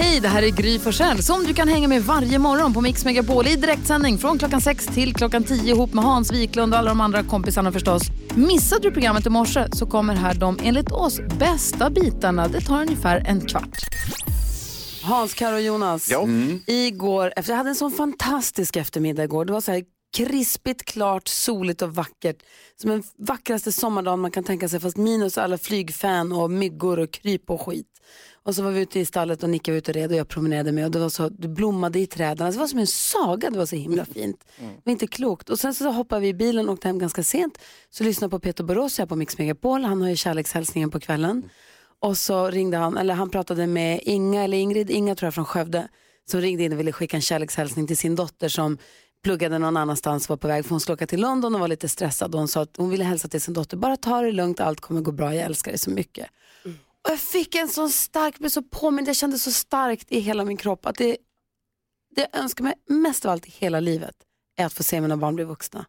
Hej, det här är Gry Forssell som du kan hänga med varje morgon på Mix Megapol i direktsändning från klockan 6 till klockan 10 ihop med Hans Wiklund och alla de andra kompisarna förstås. Missade du programmet i morse så kommer här de enligt oss bästa bitarna. Det tar ungefär en kvart. Hans, Karo och Jonas. Igår, efter, jag hade en sån fantastisk eftermiddag igår. Det var så här krispigt, klart, soligt och vackert. Som den vackraste sommardagen man kan tänka sig fast minus alla flygfän och myggor och kryp och skit. Och så var vi ute i stallet och Nicke var ute och red och jag promenerade med och det var så, det blommade i träden. Alltså, det var som en saga, det var så himla fint. Det var inte klokt. Och sen så hoppade vi i bilen och åkte hem ganska sent. Så lyssnade på Peter Borossia på Mix Megapol, han har ju kärlekshälsningen på kvällen. Och så ringde han, eller han pratade med Inga eller Ingrid, Inga tror jag från Skövde, som ringde in och ville skicka en kärlekshälsning till sin dotter som pluggade någon annanstans och var på väg för hon skulle åka till London och var lite stressad och hon sa att hon ville hälsa till sin dotter, bara ta det lugnt, allt kommer gå bra, jag älskar dig så mycket. Och jag fick en sån stark, blev så påmind, jag kände så starkt i hela min kropp att det, det jag önskar mig mest av allt i hela livet är att få se mina barn bli vuxna.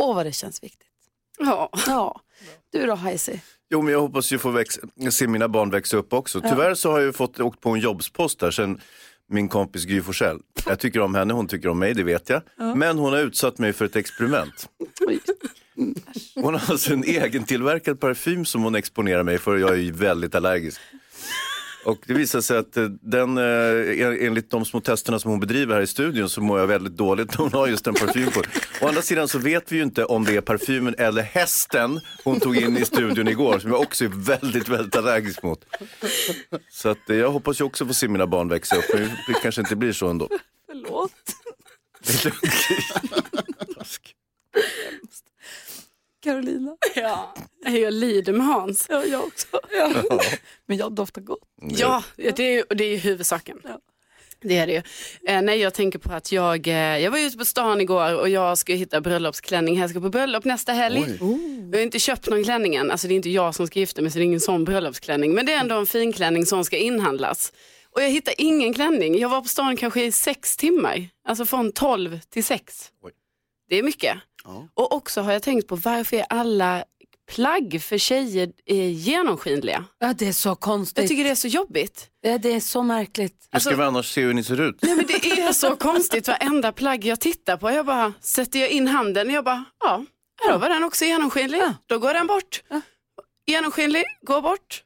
Åh vad det känns viktigt. Ja. Ja, du då Heisi? Jo, men jag hoppas ju få väx- se mina barn växa upp också. Tyvärr så har jag ju fått åkt på en jobbspost där sen min kompis Gry Forssell. Jag tycker om henne, hon tycker om mig, det vet jag. Men hon har utsatt mig för ett experiment. Hon har alltså en egentillverkad parfym som hon exponerar mig för. Jag är ju väldigt allergisk. Och det visar sig att eh, den, eh, enligt de små testerna som hon bedriver här i studion så mår jag väldigt dåligt när hon har just den parfym på. Å andra sidan så vet vi ju inte om det är parfymen eller hästen hon tog in i studion igår som jag också är väldigt, väldigt allergisk mot. Så att, eh, jag hoppas ju också få se mina barn växa upp, men det kanske inte blir så ändå. Förlåt. Det är lugnt. Task. Carolina. ja. Jag lider med Hans. Ja, jag också. Men jag doftar gott. Ja, det är ju, det är ju huvudsaken. Ja. Det är det ju. Eh, nej, jag tänker på att jag, eh, jag var ute på stan igår och jag ska hitta bröllopsklänning. Jag ska på bröllop nästa helg. Jag har inte köpt någon klänning än. Alltså det är inte jag som ska gifta mig så det är ingen sån bröllopsklänning. Men det är ändå en fin klänning som ska inhandlas. Och jag hittar ingen klänning. Jag var på stan kanske i sex timmar. Alltså från 12 till 6. Oj. Det är mycket. Och också har jag tänkt på varför är alla plagg för tjejer eh, genomskinliga? Ja, det är så konstigt. Jag tycker det är så jobbigt. ja, det är så märkligt. Hur Alltså- ska vi annars se hur ni ser ut? Nej, men det är så konstigt, varenda plagg jag tittar på. Jag bara sätter jag in handen och jag bara, ja, här var den också genomskinlig. Då går den bort. Genomskinlig, går bort.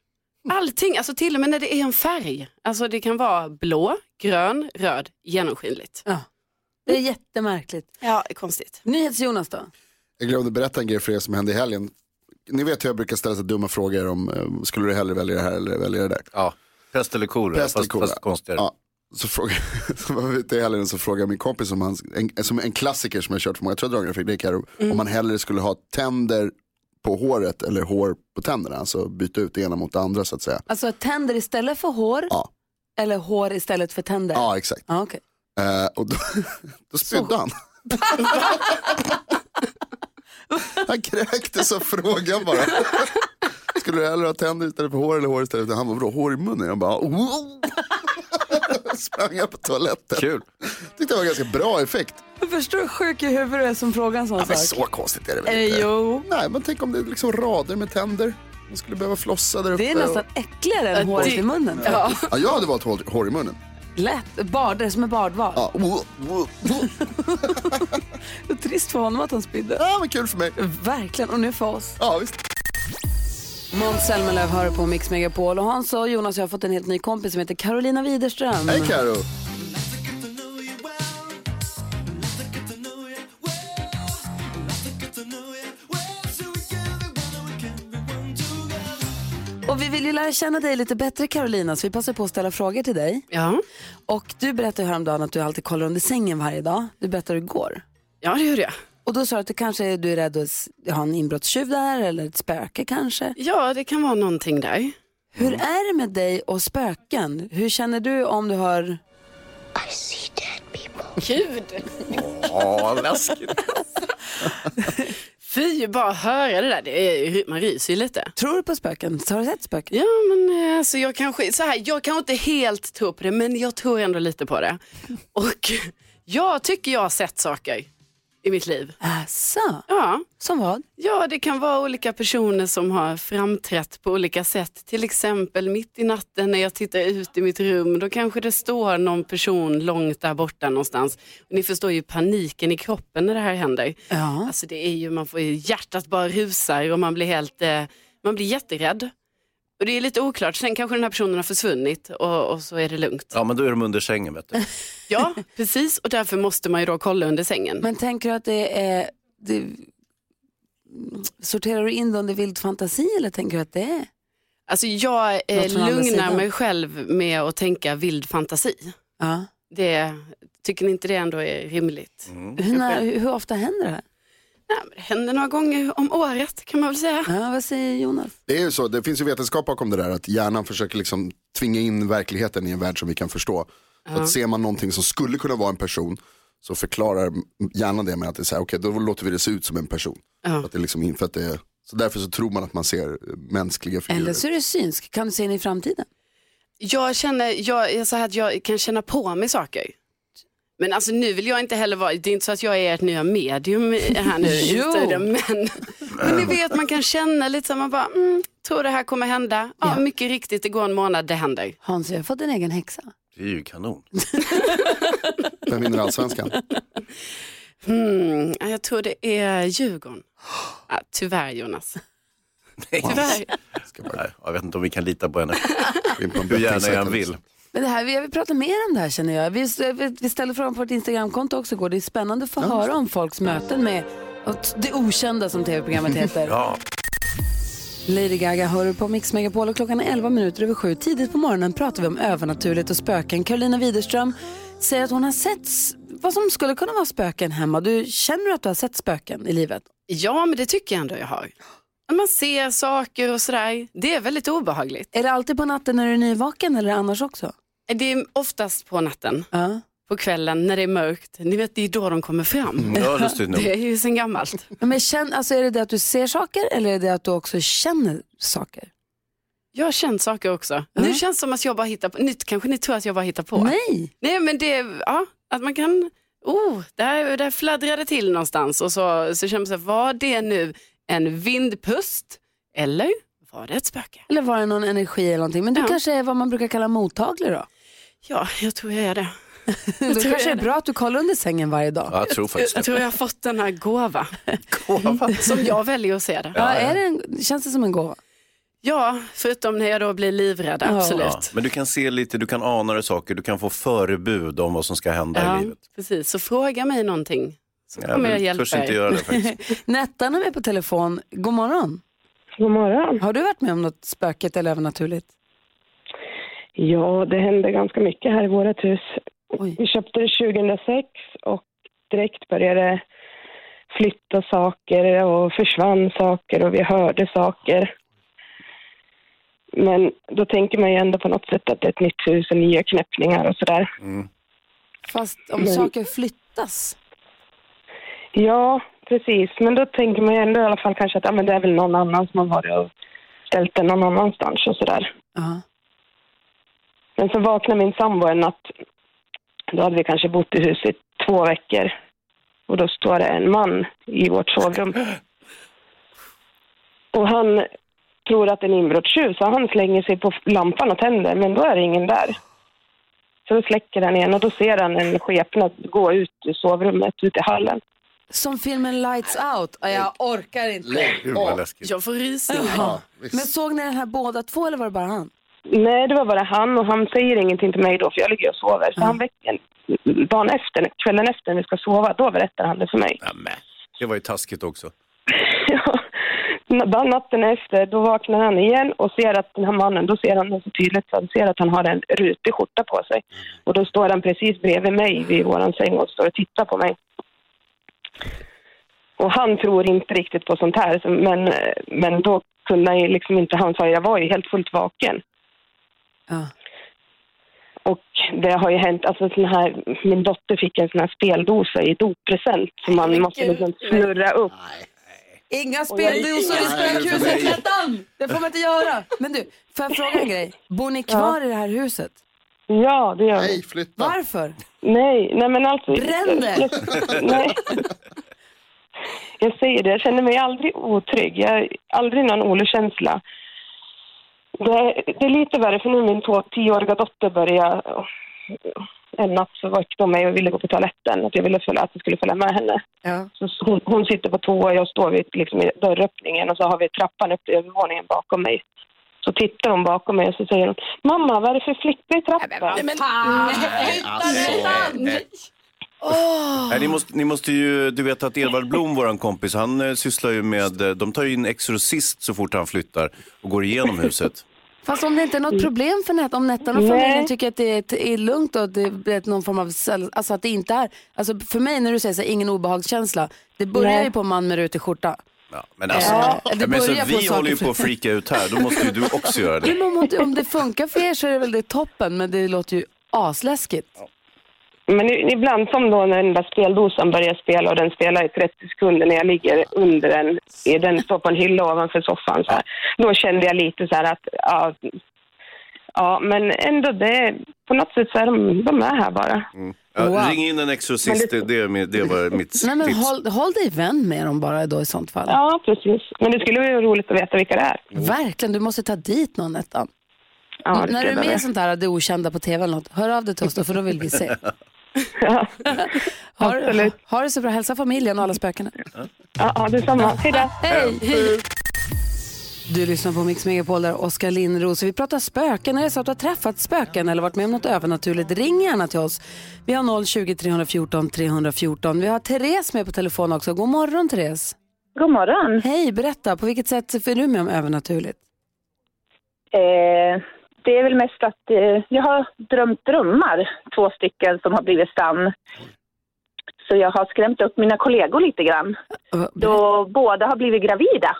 Allting, alltså till och med när det är en färg. Alltså det kan vara blå, grön, röd, genomskinligt. Det är jättemärkligt. Ja, det är konstigt. NyhetsJonas då? Jag glömde berätta en grej för er som hände i helgen. Ni vet hur jag brukar ställa så dumma frågor om eh, skulle du hellre välja det här eller välja det där? Ja, pest eller kolera, Pest eller fast, kolera. fast konstigare. Ja. Så, fråga, så var vi ute i helgen och så frågade min kompis om han, en, som en klassiker som jag kört för många, jag tror jag dragit den, Fredrik, här, om man hellre skulle ha tänder på håret eller hår på tänderna. Alltså byta ut det ena mot det andra så att säga. Alltså tänder istället för hår Ja. eller hår istället för tänder? Ja exakt. Ja, okej. Eh, och då, då spydde han. han kräktes av frågan bara. Skulle du hellre ha tänder istället för hår eller hår istället för Han var bra hår i munnen? Jag bara wow. Sprang jag på toaletten. Kul. Tyckte det var ganska bra effekt. Jag förstår hur sjuk i huvudet du är som frågar en sån Ja, men sak. så konstigt är det väl Eh, inte? jo, Nej, men tänk om det är liksom rader med tänder. Man skulle behöva flossa där uppe. det är nästan äckligare än håret i munnen. och... ja, jag hade valt hår, hår i munnen. Lätt, bard, det är som är bardvar. Ja, wow, wow, wow. Trist för honom att han spydde. ja, men kul för mig. Verkligen, och nu för oss. Ja, visst. Måns Zelmerlöw hör på Mix Megapol och Hans och Jonas jag har fått en helt ny kompis som heter Carolina Widerström. Hej Karo. Och vi vill ju lära känna dig lite bättre Carolina så vi passar på att ställa frågor till dig. Ja, Och du berättade ju häromdagen att du alltid kollar under sängen varje dag. Du berättade hur det går. ja det gjorde jag. Och då sa du att du kanske är- du är rädd att s- ha en inbrottstjuv där eller ett spöke kanske. Ja, det kan vara någonting där. Hur är det med dig och spöken? Hur känner du om du hör... Gud. Ja, läskigt. Fy, bara höra det där, det är, man ryser ju lite. Tror du på spöken? Har du sett spöken? Ja, men eh, alltså, jag kanske, så här, jag kanske inte helt tror på det, men jag tror ändå lite på det. Och jag tycker jag har sett saker i mitt liv. Asså, Ja, som vad? ja det kan vara olika personer som har framträtt på olika sätt. Till exempel mitt i natten när jag tittar ut i mitt rum, då kanske det står någon person långt där borta någonstans. Och ni förstår ju paniken i kroppen när det här händer. Ja. Alltså det är ju, man får ju hjärtat bara rusar och man blir helt, eh, man blir jätterädd. Och det är lite oklart, sen kanske den här personen har försvunnit och, och så är det lugnt. Ja, men då är de under sängen vet du. Ja, precis och därför måste man ju då kolla under sängen. Men tänker du att det är... Det, mm, sorterar du in det under vild fantasi eller tänker du att det är... Alltså jag eh, Något från andra lugnar sidan. mig själv med att tänka vild fantasi. Ja. Det, tycker ni inte det ändå är rimligt? Hur, när, hur, hur ofta händer det här? Nej, men det händer några gånger om året kan man väl säga. Ja, vad säger Jonas? Det är ju så, det finns ju vetenskap bakom det där att hjärnan försöker liksom tvinga in verkligheten i en värld som vi kan förstå. Så att ser man någonting som skulle kunna vara en person så förklarar hjärnan det med att det är så här, okej då låter vi det se ut som en person. För att det liksom, in- för att det är, så därför så tror man att man ser eh, mänskliga figurer. Eller så är du synsk. Kan du se in i framtiden? Jag känner, jag, jag, så här att jag kan känna på mig saker. Men alltså nu vill jag inte heller vara, det är inte så att jag är ert nya medium här nu i Jo. studion, men, men ni vet man kan känna lite så här, man bara, mm, tror det här kommer hända. Ja, Ja. mycket riktigt, det går en månad, det händer. Hans, jag har fått en egen häxa. Det är ju kanon. Vem vinner allsvenskan? Hmm, ja, jag tror det är Djurgården. Ja, tyvärr Jonas. Tyvärr. Ska bara Nej, jag vet inte om vi kan lita på henne. gå in på en Hur gärna bettingsajt jag än eller vill. så. Men det här, vi, jag vill prata mer om det här känner jag. Vi, vi- vi ställer frågan på vårt Instagramkonto också igår. Det är spännande att få höra om folks möten med och t- det okända som tv-programmet heter. Ja, Lady Gaga hör du på Mix Megapol och klockan är 11 minuter över sju. Tidigt på morgonen pratar vi om övernaturligt och spöken. Carolina Widerström säger att hon har sett s- vad som skulle kunna vara spöken hemma. Du känner du att du har sett spöken i livet? Ja, men det tycker jag ändå jag har. När Man ser saker och sådär, det är väldigt obehagligt. Är det alltid på natten när du är nyvaken eller annars också? Det är oftast på natten. Ja. på kvällen när det är mörkt. Ni vet, det är då de kommer fram. ja lustigt nog. Det är ju sen gammalt. Men känn, alltså är det det att du ser saker eller är det att du också känner saker? Jag har känt saker också. Nu känns det som att jag bara hittar på. Nu kanske ni tror att jag bara hittar på. Nej. Nej men det, ja, att man kan, oh, där, där fladdrade till någonstans och så, så känner man sig, var det nu en vindpust eller var det ett spöke? Eller var det någon energi eller någonting? Men du Ja. kanske är vad man brukar kalla mottaglig då? Ja, jag tror jag är det. Då tror kanske det jag är det. bra att du kollar under sängen varje dag. Ja, jag tror faktiskt Jag det. tror jag har fått den här gåva. Som jag väljer att se det. Ja, är det en, känns det som en gåva? Ja, förutom när jag då blir livrädd, Ja. absolut. Ja, men du kan se lite, du kan ana dig saker, du kan få förebud om vad som ska hända i livet. precis. Så fråga mig någonting. Så Ja, kommer men jag hjälpa törs inte er. göra det faktiskt. Nettan är med på telefon. God morgon. God morgon. Har du varit med om något spöket eller övernaturligt? Ja, det hände ganska mycket här i vårt hus. Oj. Vi köpte det 2006 och direkt började flytta saker och försvann saker och vi hörde saker. Men då tänker man ju ändå på något sätt att det är ett nytt hus och nya knäppningar och sådär. Fast om Nej. saker flyttas. Ja, precis. Men då tänker man ju ändå i alla fall kanske att ja, men det är väl någon annan som har varit och ställt det någon annanstans och sådär. Ja. Men sen vaknade min sambo en natt. Då hade vi kanske bott i huset i två veckor. Och då står det en man i vårt sovrum. Och han tror att det är en inbrottstjuv så han slänger sig på lampan och tänder men då är det ingen där. Så då släcker han igen och då ser han en skepnad gå ut ur sovrummet, ut i hallen. Som filmen Lights Out. Ja, Jag orkar inte. Gud vad läskigt. Jag får rysningar. Ja, Men visst. såg ni den här båda två eller var det bara han? Nej, det var bara han och han säger ingenting till mig då för jag ligger och sover. Så han väcker dagen efter, kvällen efter när vi ska sova, då berättar han det för mig. Nämen, det var ju taskigt också. Ja. Dagen natten efter, då vaknar han igen och ser att den här mannen, då ser han det så tydligt, så han ser att han har en rutig skjorta på sig. Och då står han precis bredvid mig vid våran säng och står och tittar på mig. Och han tror inte riktigt på sånt här, så- men, men då kunde han ju liksom inte, han sa jag var ju helt fullt vaken. Ja. Och det har ju hänt, alltså sån här, min dotter fick en sån här speldosa i doppresent som man måste liksom snurra upp. Inga Nej, speldosor i inga spel. spökhuset. Det får man inte göra. Men du, får jag fråga en grej? Bor ni kvar i det här huset? Ja, det gör vi. Nej, flytta. Varför? Nej, nej men alltså... Brände? Jag, nej. Jag säger det, jag känner mig aldrig otrygg. Jag har aldrig någon orokänsla. Det, det är lite värre, för nu min tå- tioåriga dotter började... En natt så väckte hon mig och ville gå på toaletten. Att jag ville följa, att jag skulle följa med henne. Ja. Så hon, hon sitter på toa och jag står vid, liksom, i dörröppningen och så har vi trappan upp till övervåningen bakom mig. Så tittar hon bakom mig och så säger hon Mamma, vad är det för flicka i trappan? Nej, ni, måste, ni måste ju, du vet att Edvard Blom, våran kompis, han eh, sysslar ju med, eh, de tar ju in exorcist så fort han flyttar och går igenom huset. Fast om det inte är något problem för Nettan, om Nettan och Nej. familjen tycker att det är, t- är lugnt och att det blir ett- någon form av, cell- alltså att det inte är, alltså för mig när du säger så här, ingen obehagskänsla, det börjar Nej. ju på en man med rutig skjorta. Ja, men alltså, Ja, det ja, men så, börjar på vi saker håller ju för- på att freaka ut här, då måste ju du också göra det. Men om, om det funkar för er så är det väl det toppen, men det låter ju asläskigt. Men i- ibland som då när den där speldosan börjar spela och den spelar i 30 sekunder när jag ligger under den, i den står på en hylla ovanför soffan så här. Då kände jag lite så här att, ja, ja men ändå det, på något sätt så är de, de är här bara. Ja, Wow. Ring in en exorcist, det, det, är min- det var mitt Nej men tips. håll, håll dig vän med dem bara då i sånt fall. Ja, precis. Men det skulle vara roligt att veta vilka det är. Verkligen, du måste ta dit någon Nettan. Mm. Ja, det När du är skulle med i jag. sånt där, det okända på tv eller något, hör av dig till oss då för då vill vi se. Ja, Har, Absolut. har det så bra, hälsa familjen och alla spökena. ja, ja detsamma. Hej då. Hej! Du lyssnar på Mix Megapol där Oskar Lindros. Vi pratar spöken. Är det så att du har träffat spöken eller varit med om något övernaturligt, ring gärna till oss. Vi har 020 314 314. Vi har Therese med på telefon också. God morgon Therese. God morgon. Hej, berätta. På vilket sätt är du med om övernaturligt? Eh, det är väl mest att eh, jag har drömt drömmar, två stycken som har blivit sann. Så jag har skrämt upp mina kollegor lite grann, Ö, berätta. då båda har blivit gravida.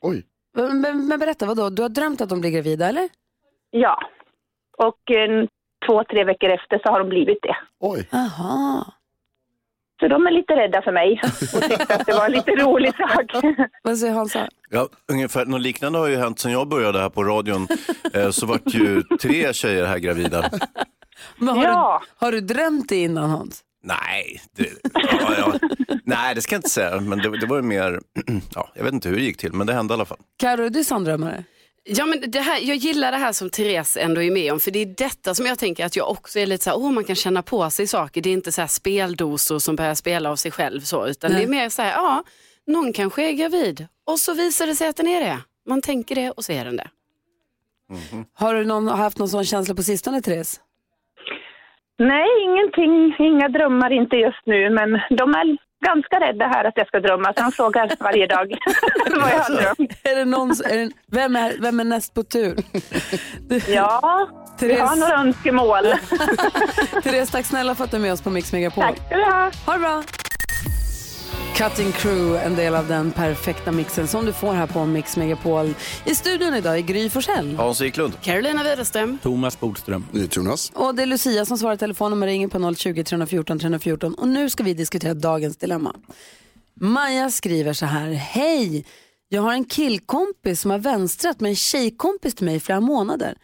Oj. Men, men berätta, vadå? Du har drömt att de blir gravida eller? Ja. Och eh, två, tre veckor efter så har de blivit det. Oj. Aha. Så de är lite rädda för mig och tyckte att det var en lite rolig sak. Vad säger Hansa? Ja, ungefär, något liknande har ju hänt sen jag började här på radion. Eh, så vart ju tre tjejer här gravida. Men har, Ja. du, har du drömt det innan Hans? Nej, det, ja, ja. Nej, det ska jag inte säga. Men det, det var ju mer, ja, jag vet inte hur det gick till, men det hände i alla fall. Carro, är du sanndrömmare? Ja, men det här, jag gillar det här som Therese ändå är med om, för det är detta som jag tänker att jag också är lite så här, åh man kan känna på sig saker. Det är inte så här speldosor som börjar spela av sig själv så, utan det är mer så här, ja, någon kanske är gravid och så visar det sig att den är det. Man tänker det och så är den det. Har du någon, haft någon sån känsla på sistone, Therese? Nej, ingenting, inga drömmar, inte just nu, men de är ganska rädda här att jag ska drömma, så de frågar varje dag vad jag har drömt. Är det någon, s- är det, vem, är, vem är näst på tur? Du, Ja, vi Therese. har några önskemål. Therese, tack snälla för att du är med oss på Mix Megapol. Tack ska du ha. Ha det bra! Cutting Crew, en del av den perfekta mixen som du får här på Mix Megapol. I studion idag är Gry Forssell. Hans Wiklund. Carolina Widerström. Thomas Bodström. Jonas. Och det är Lucia som svarar i telefon och man ringer på 020 314 314. Och nu ska vi diskutera dagens dilemma. Maja skriver så här. Hej! Jag har en killkompis som har vänstrat med en tjejkompis till mig i flera månader.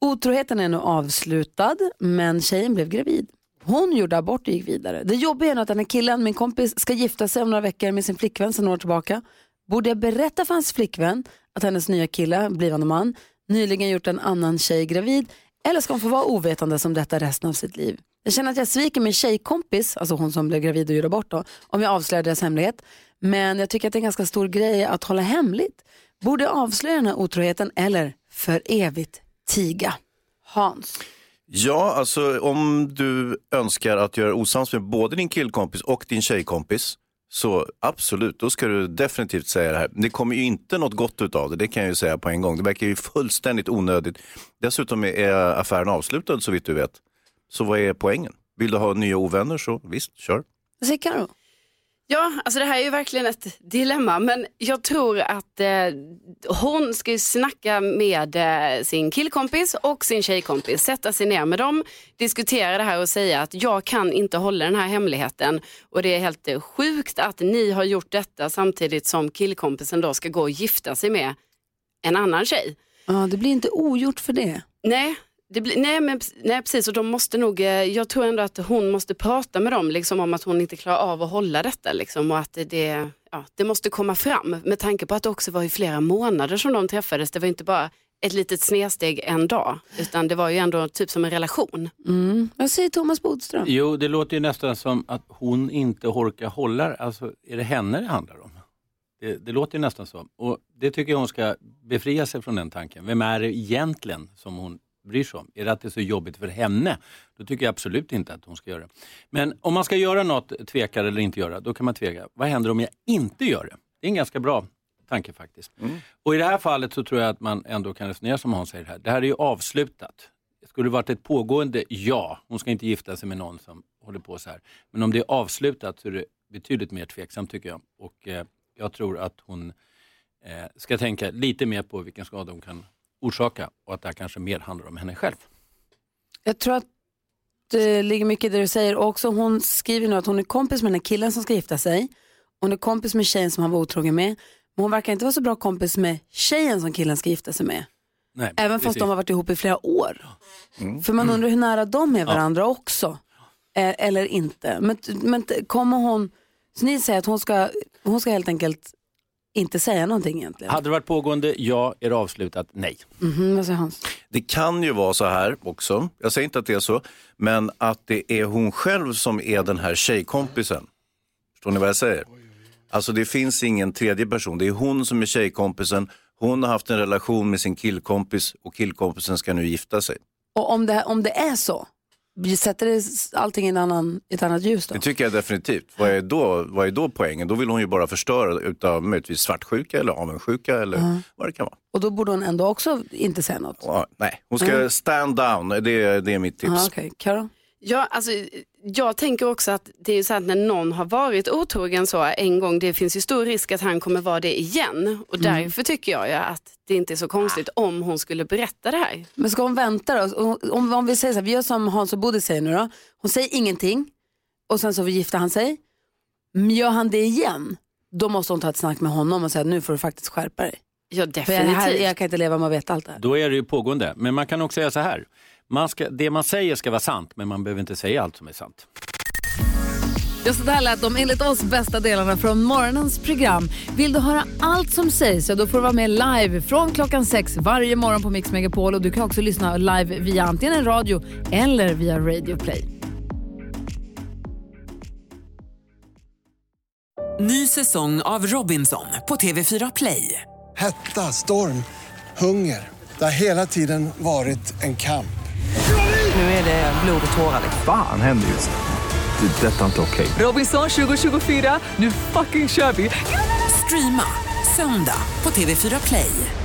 Otroheten är nu avslutad, men tjejen blev gravid. Hon gjorde abort och gick vidare. Det jobbiga är nu att den här killen, min kompis, ska gifta sig om några veckor med sin flickvän sedan några år tillbaka. Borde jag berätta för hans flickvän att hennes nya kille, blivande man, nyligen gjort en annan tjej gravid? Eller ska hon få vara ovetande som detta resten av sitt liv? Jag känner att jag sviker min tjejkompis, alltså hon som blev gravid och gjorde abort då, om jag avslöjar deras hemlighet. Men jag tycker att det är en ganska stor grej att hålla hemligt. Borde jag avslöja den här otroheten eller för evigt tiga? Hans. Ja, alltså om du önskar att göra osams med både din killkompis och din tjejkompis, så absolut, då ska du definitivt säga det här. Det kommer ju inte något gott utav det, det kan jag ju säga på en gång. Det verkar ju fullständigt onödigt. Dessutom är eh, affären avslutad så vitt du vet. Så vad är poängen? Vill du ha nya ovänner så visst, kör. Vad säger Karo? Ja, alltså det här är ju verkligen ett dilemma, men jag tror att eh, hon ska ju snacka med eh, sin killkompis och sin tjejkompis, sätta sig ner med dem, diskutera det här och säga att jag kan inte hålla den här hemligheten och det är helt eh, sjukt att ni har gjort detta samtidigt som killkompisen då ska gå och gifta sig med en annan tjej. Ja, det blir inte ogjort för det. Nej, det blir, nej, men, nej precis och de måste nog, eh, jag tror ändå att hon måste prata med dem liksom, om att hon inte klarar av att hålla detta liksom, och att det- det, ja, det måste komma fram med tanke på att det också var i flera månader som de träffades. Det var inte bara ett litet snedsteg en dag utan det var ju ändå typ som en relation. Mm. Vad säger Thomas Bodström? Jo, det låter ju nästan som att hon inte orkar hålla det. Alltså, är det henne det handlar om? Det, det låter ju nästan så. Och det tycker jag hon ska befria sig från den tanken. Vem är det egentligen som hon bryr sig om? Är det att det är så jobbigt för henne? Då tycker jag absolut inte att hon ska göra det. Men om man ska göra något, tveka eller inte göra, då kan man tveka. Vad händer om jag inte gör det? Det är en ganska bra tanke faktiskt. Mm. Och i det här fallet så tror jag att man ändå kan resonera som Hans säger här. Det här är ju avslutat. Skulle det varit ett pågående, ja. Hon ska inte gifta sig med någon som håller på så här. Men om det är avslutat så är det betydligt mer tveksamt tycker jag. Och eh, jag tror att hon eh, ska tänka lite mer på vilken skada hon kan orsaka och att det här kanske mer handlar om henne själv. Jag tror att det ligger mycket i det du säger. Och också hon skriver nu att hon är kompis med den här killen som ska gifta sig. Hon är kompis med tjejen som han var otrogen med. Men hon verkar inte vara så bra kompis med tjejen som killen ska gifta sig med. Nej, Även fast precis. de har varit ihop i flera år. För man undrar hur nära de är varandra också. Eh, Eller inte. Men, men t- kommer hon... Så ni säger att hon ska, hon ska helt enkelt inte säga någonting egentligen? Hade det varit pågående, ja. Är det avslutat, nej. Mhm, vad säger Hans? Det kan ju vara så här också, jag säger inte att det är så, men att det är hon själv som är den här tjejkompisen. Förstår ni vad jag säger? Alltså det finns ingen tredje person, det är hon som är tjejkompisen, hon har haft en relation med sin killkompis och killkompisen ska nu gifta sig. Och om det, om det är så, sätter det s- allting i en annan, i ett annat ljus då? Det tycker jag definitivt. Vad är då, vad är då poängen? Då vill hon ju bara förstöra utav möjligtvis svartsjuka eller avundsjuka eller vad det kan vara. Och då borde hon ändå också inte säga något. Ja, nej, hon ska Mm. stand down, det, är- det är mitt tips. Ja, Okej, Karo. Ja, alltså, jag tänker också att det är ju så att när någon har varit otrogen så en gång, det finns ju stor risk att han kommer vara det igen. Och Mm. därför tycker jag ju att det inte är så konstigt om hon skulle berätta det här. Men ska hon vänta då? Och Om, om vi säger så här, vi gör som Hans och Bodil säger nu då. Hon säger ingenting och sen så gifter han sig. Men Gör han det igen, då måste hon ta ett snack med honom och säga nu får du faktiskt skärpa dig. Ja, För jag, här, definitivt. jag kan inte leva med att veta allt det här. Då är det ju pågående. Men man kan också säga så här. Man ska, det man säger ska vara sant, men man behöver inte säga allt som är sant. Just så där lät de enligt oss bästa delarna från morgonens program. Vill du höra allt som sägs så då får du vara med live från klockan sex varje morgon på Mix Megapol och du kan också lyssna live via antingen radio eller via Radio Play. Ny säsong av Robinson på TV4 Play. Hetta, storm, hunger. Det har hela tiden varit en kamp. Nu är det blod och tårar. Fan händer just det. Det är detta inte okej. Robinson 2024, nu fucking kör vi! Streama söndag på TV4 Play.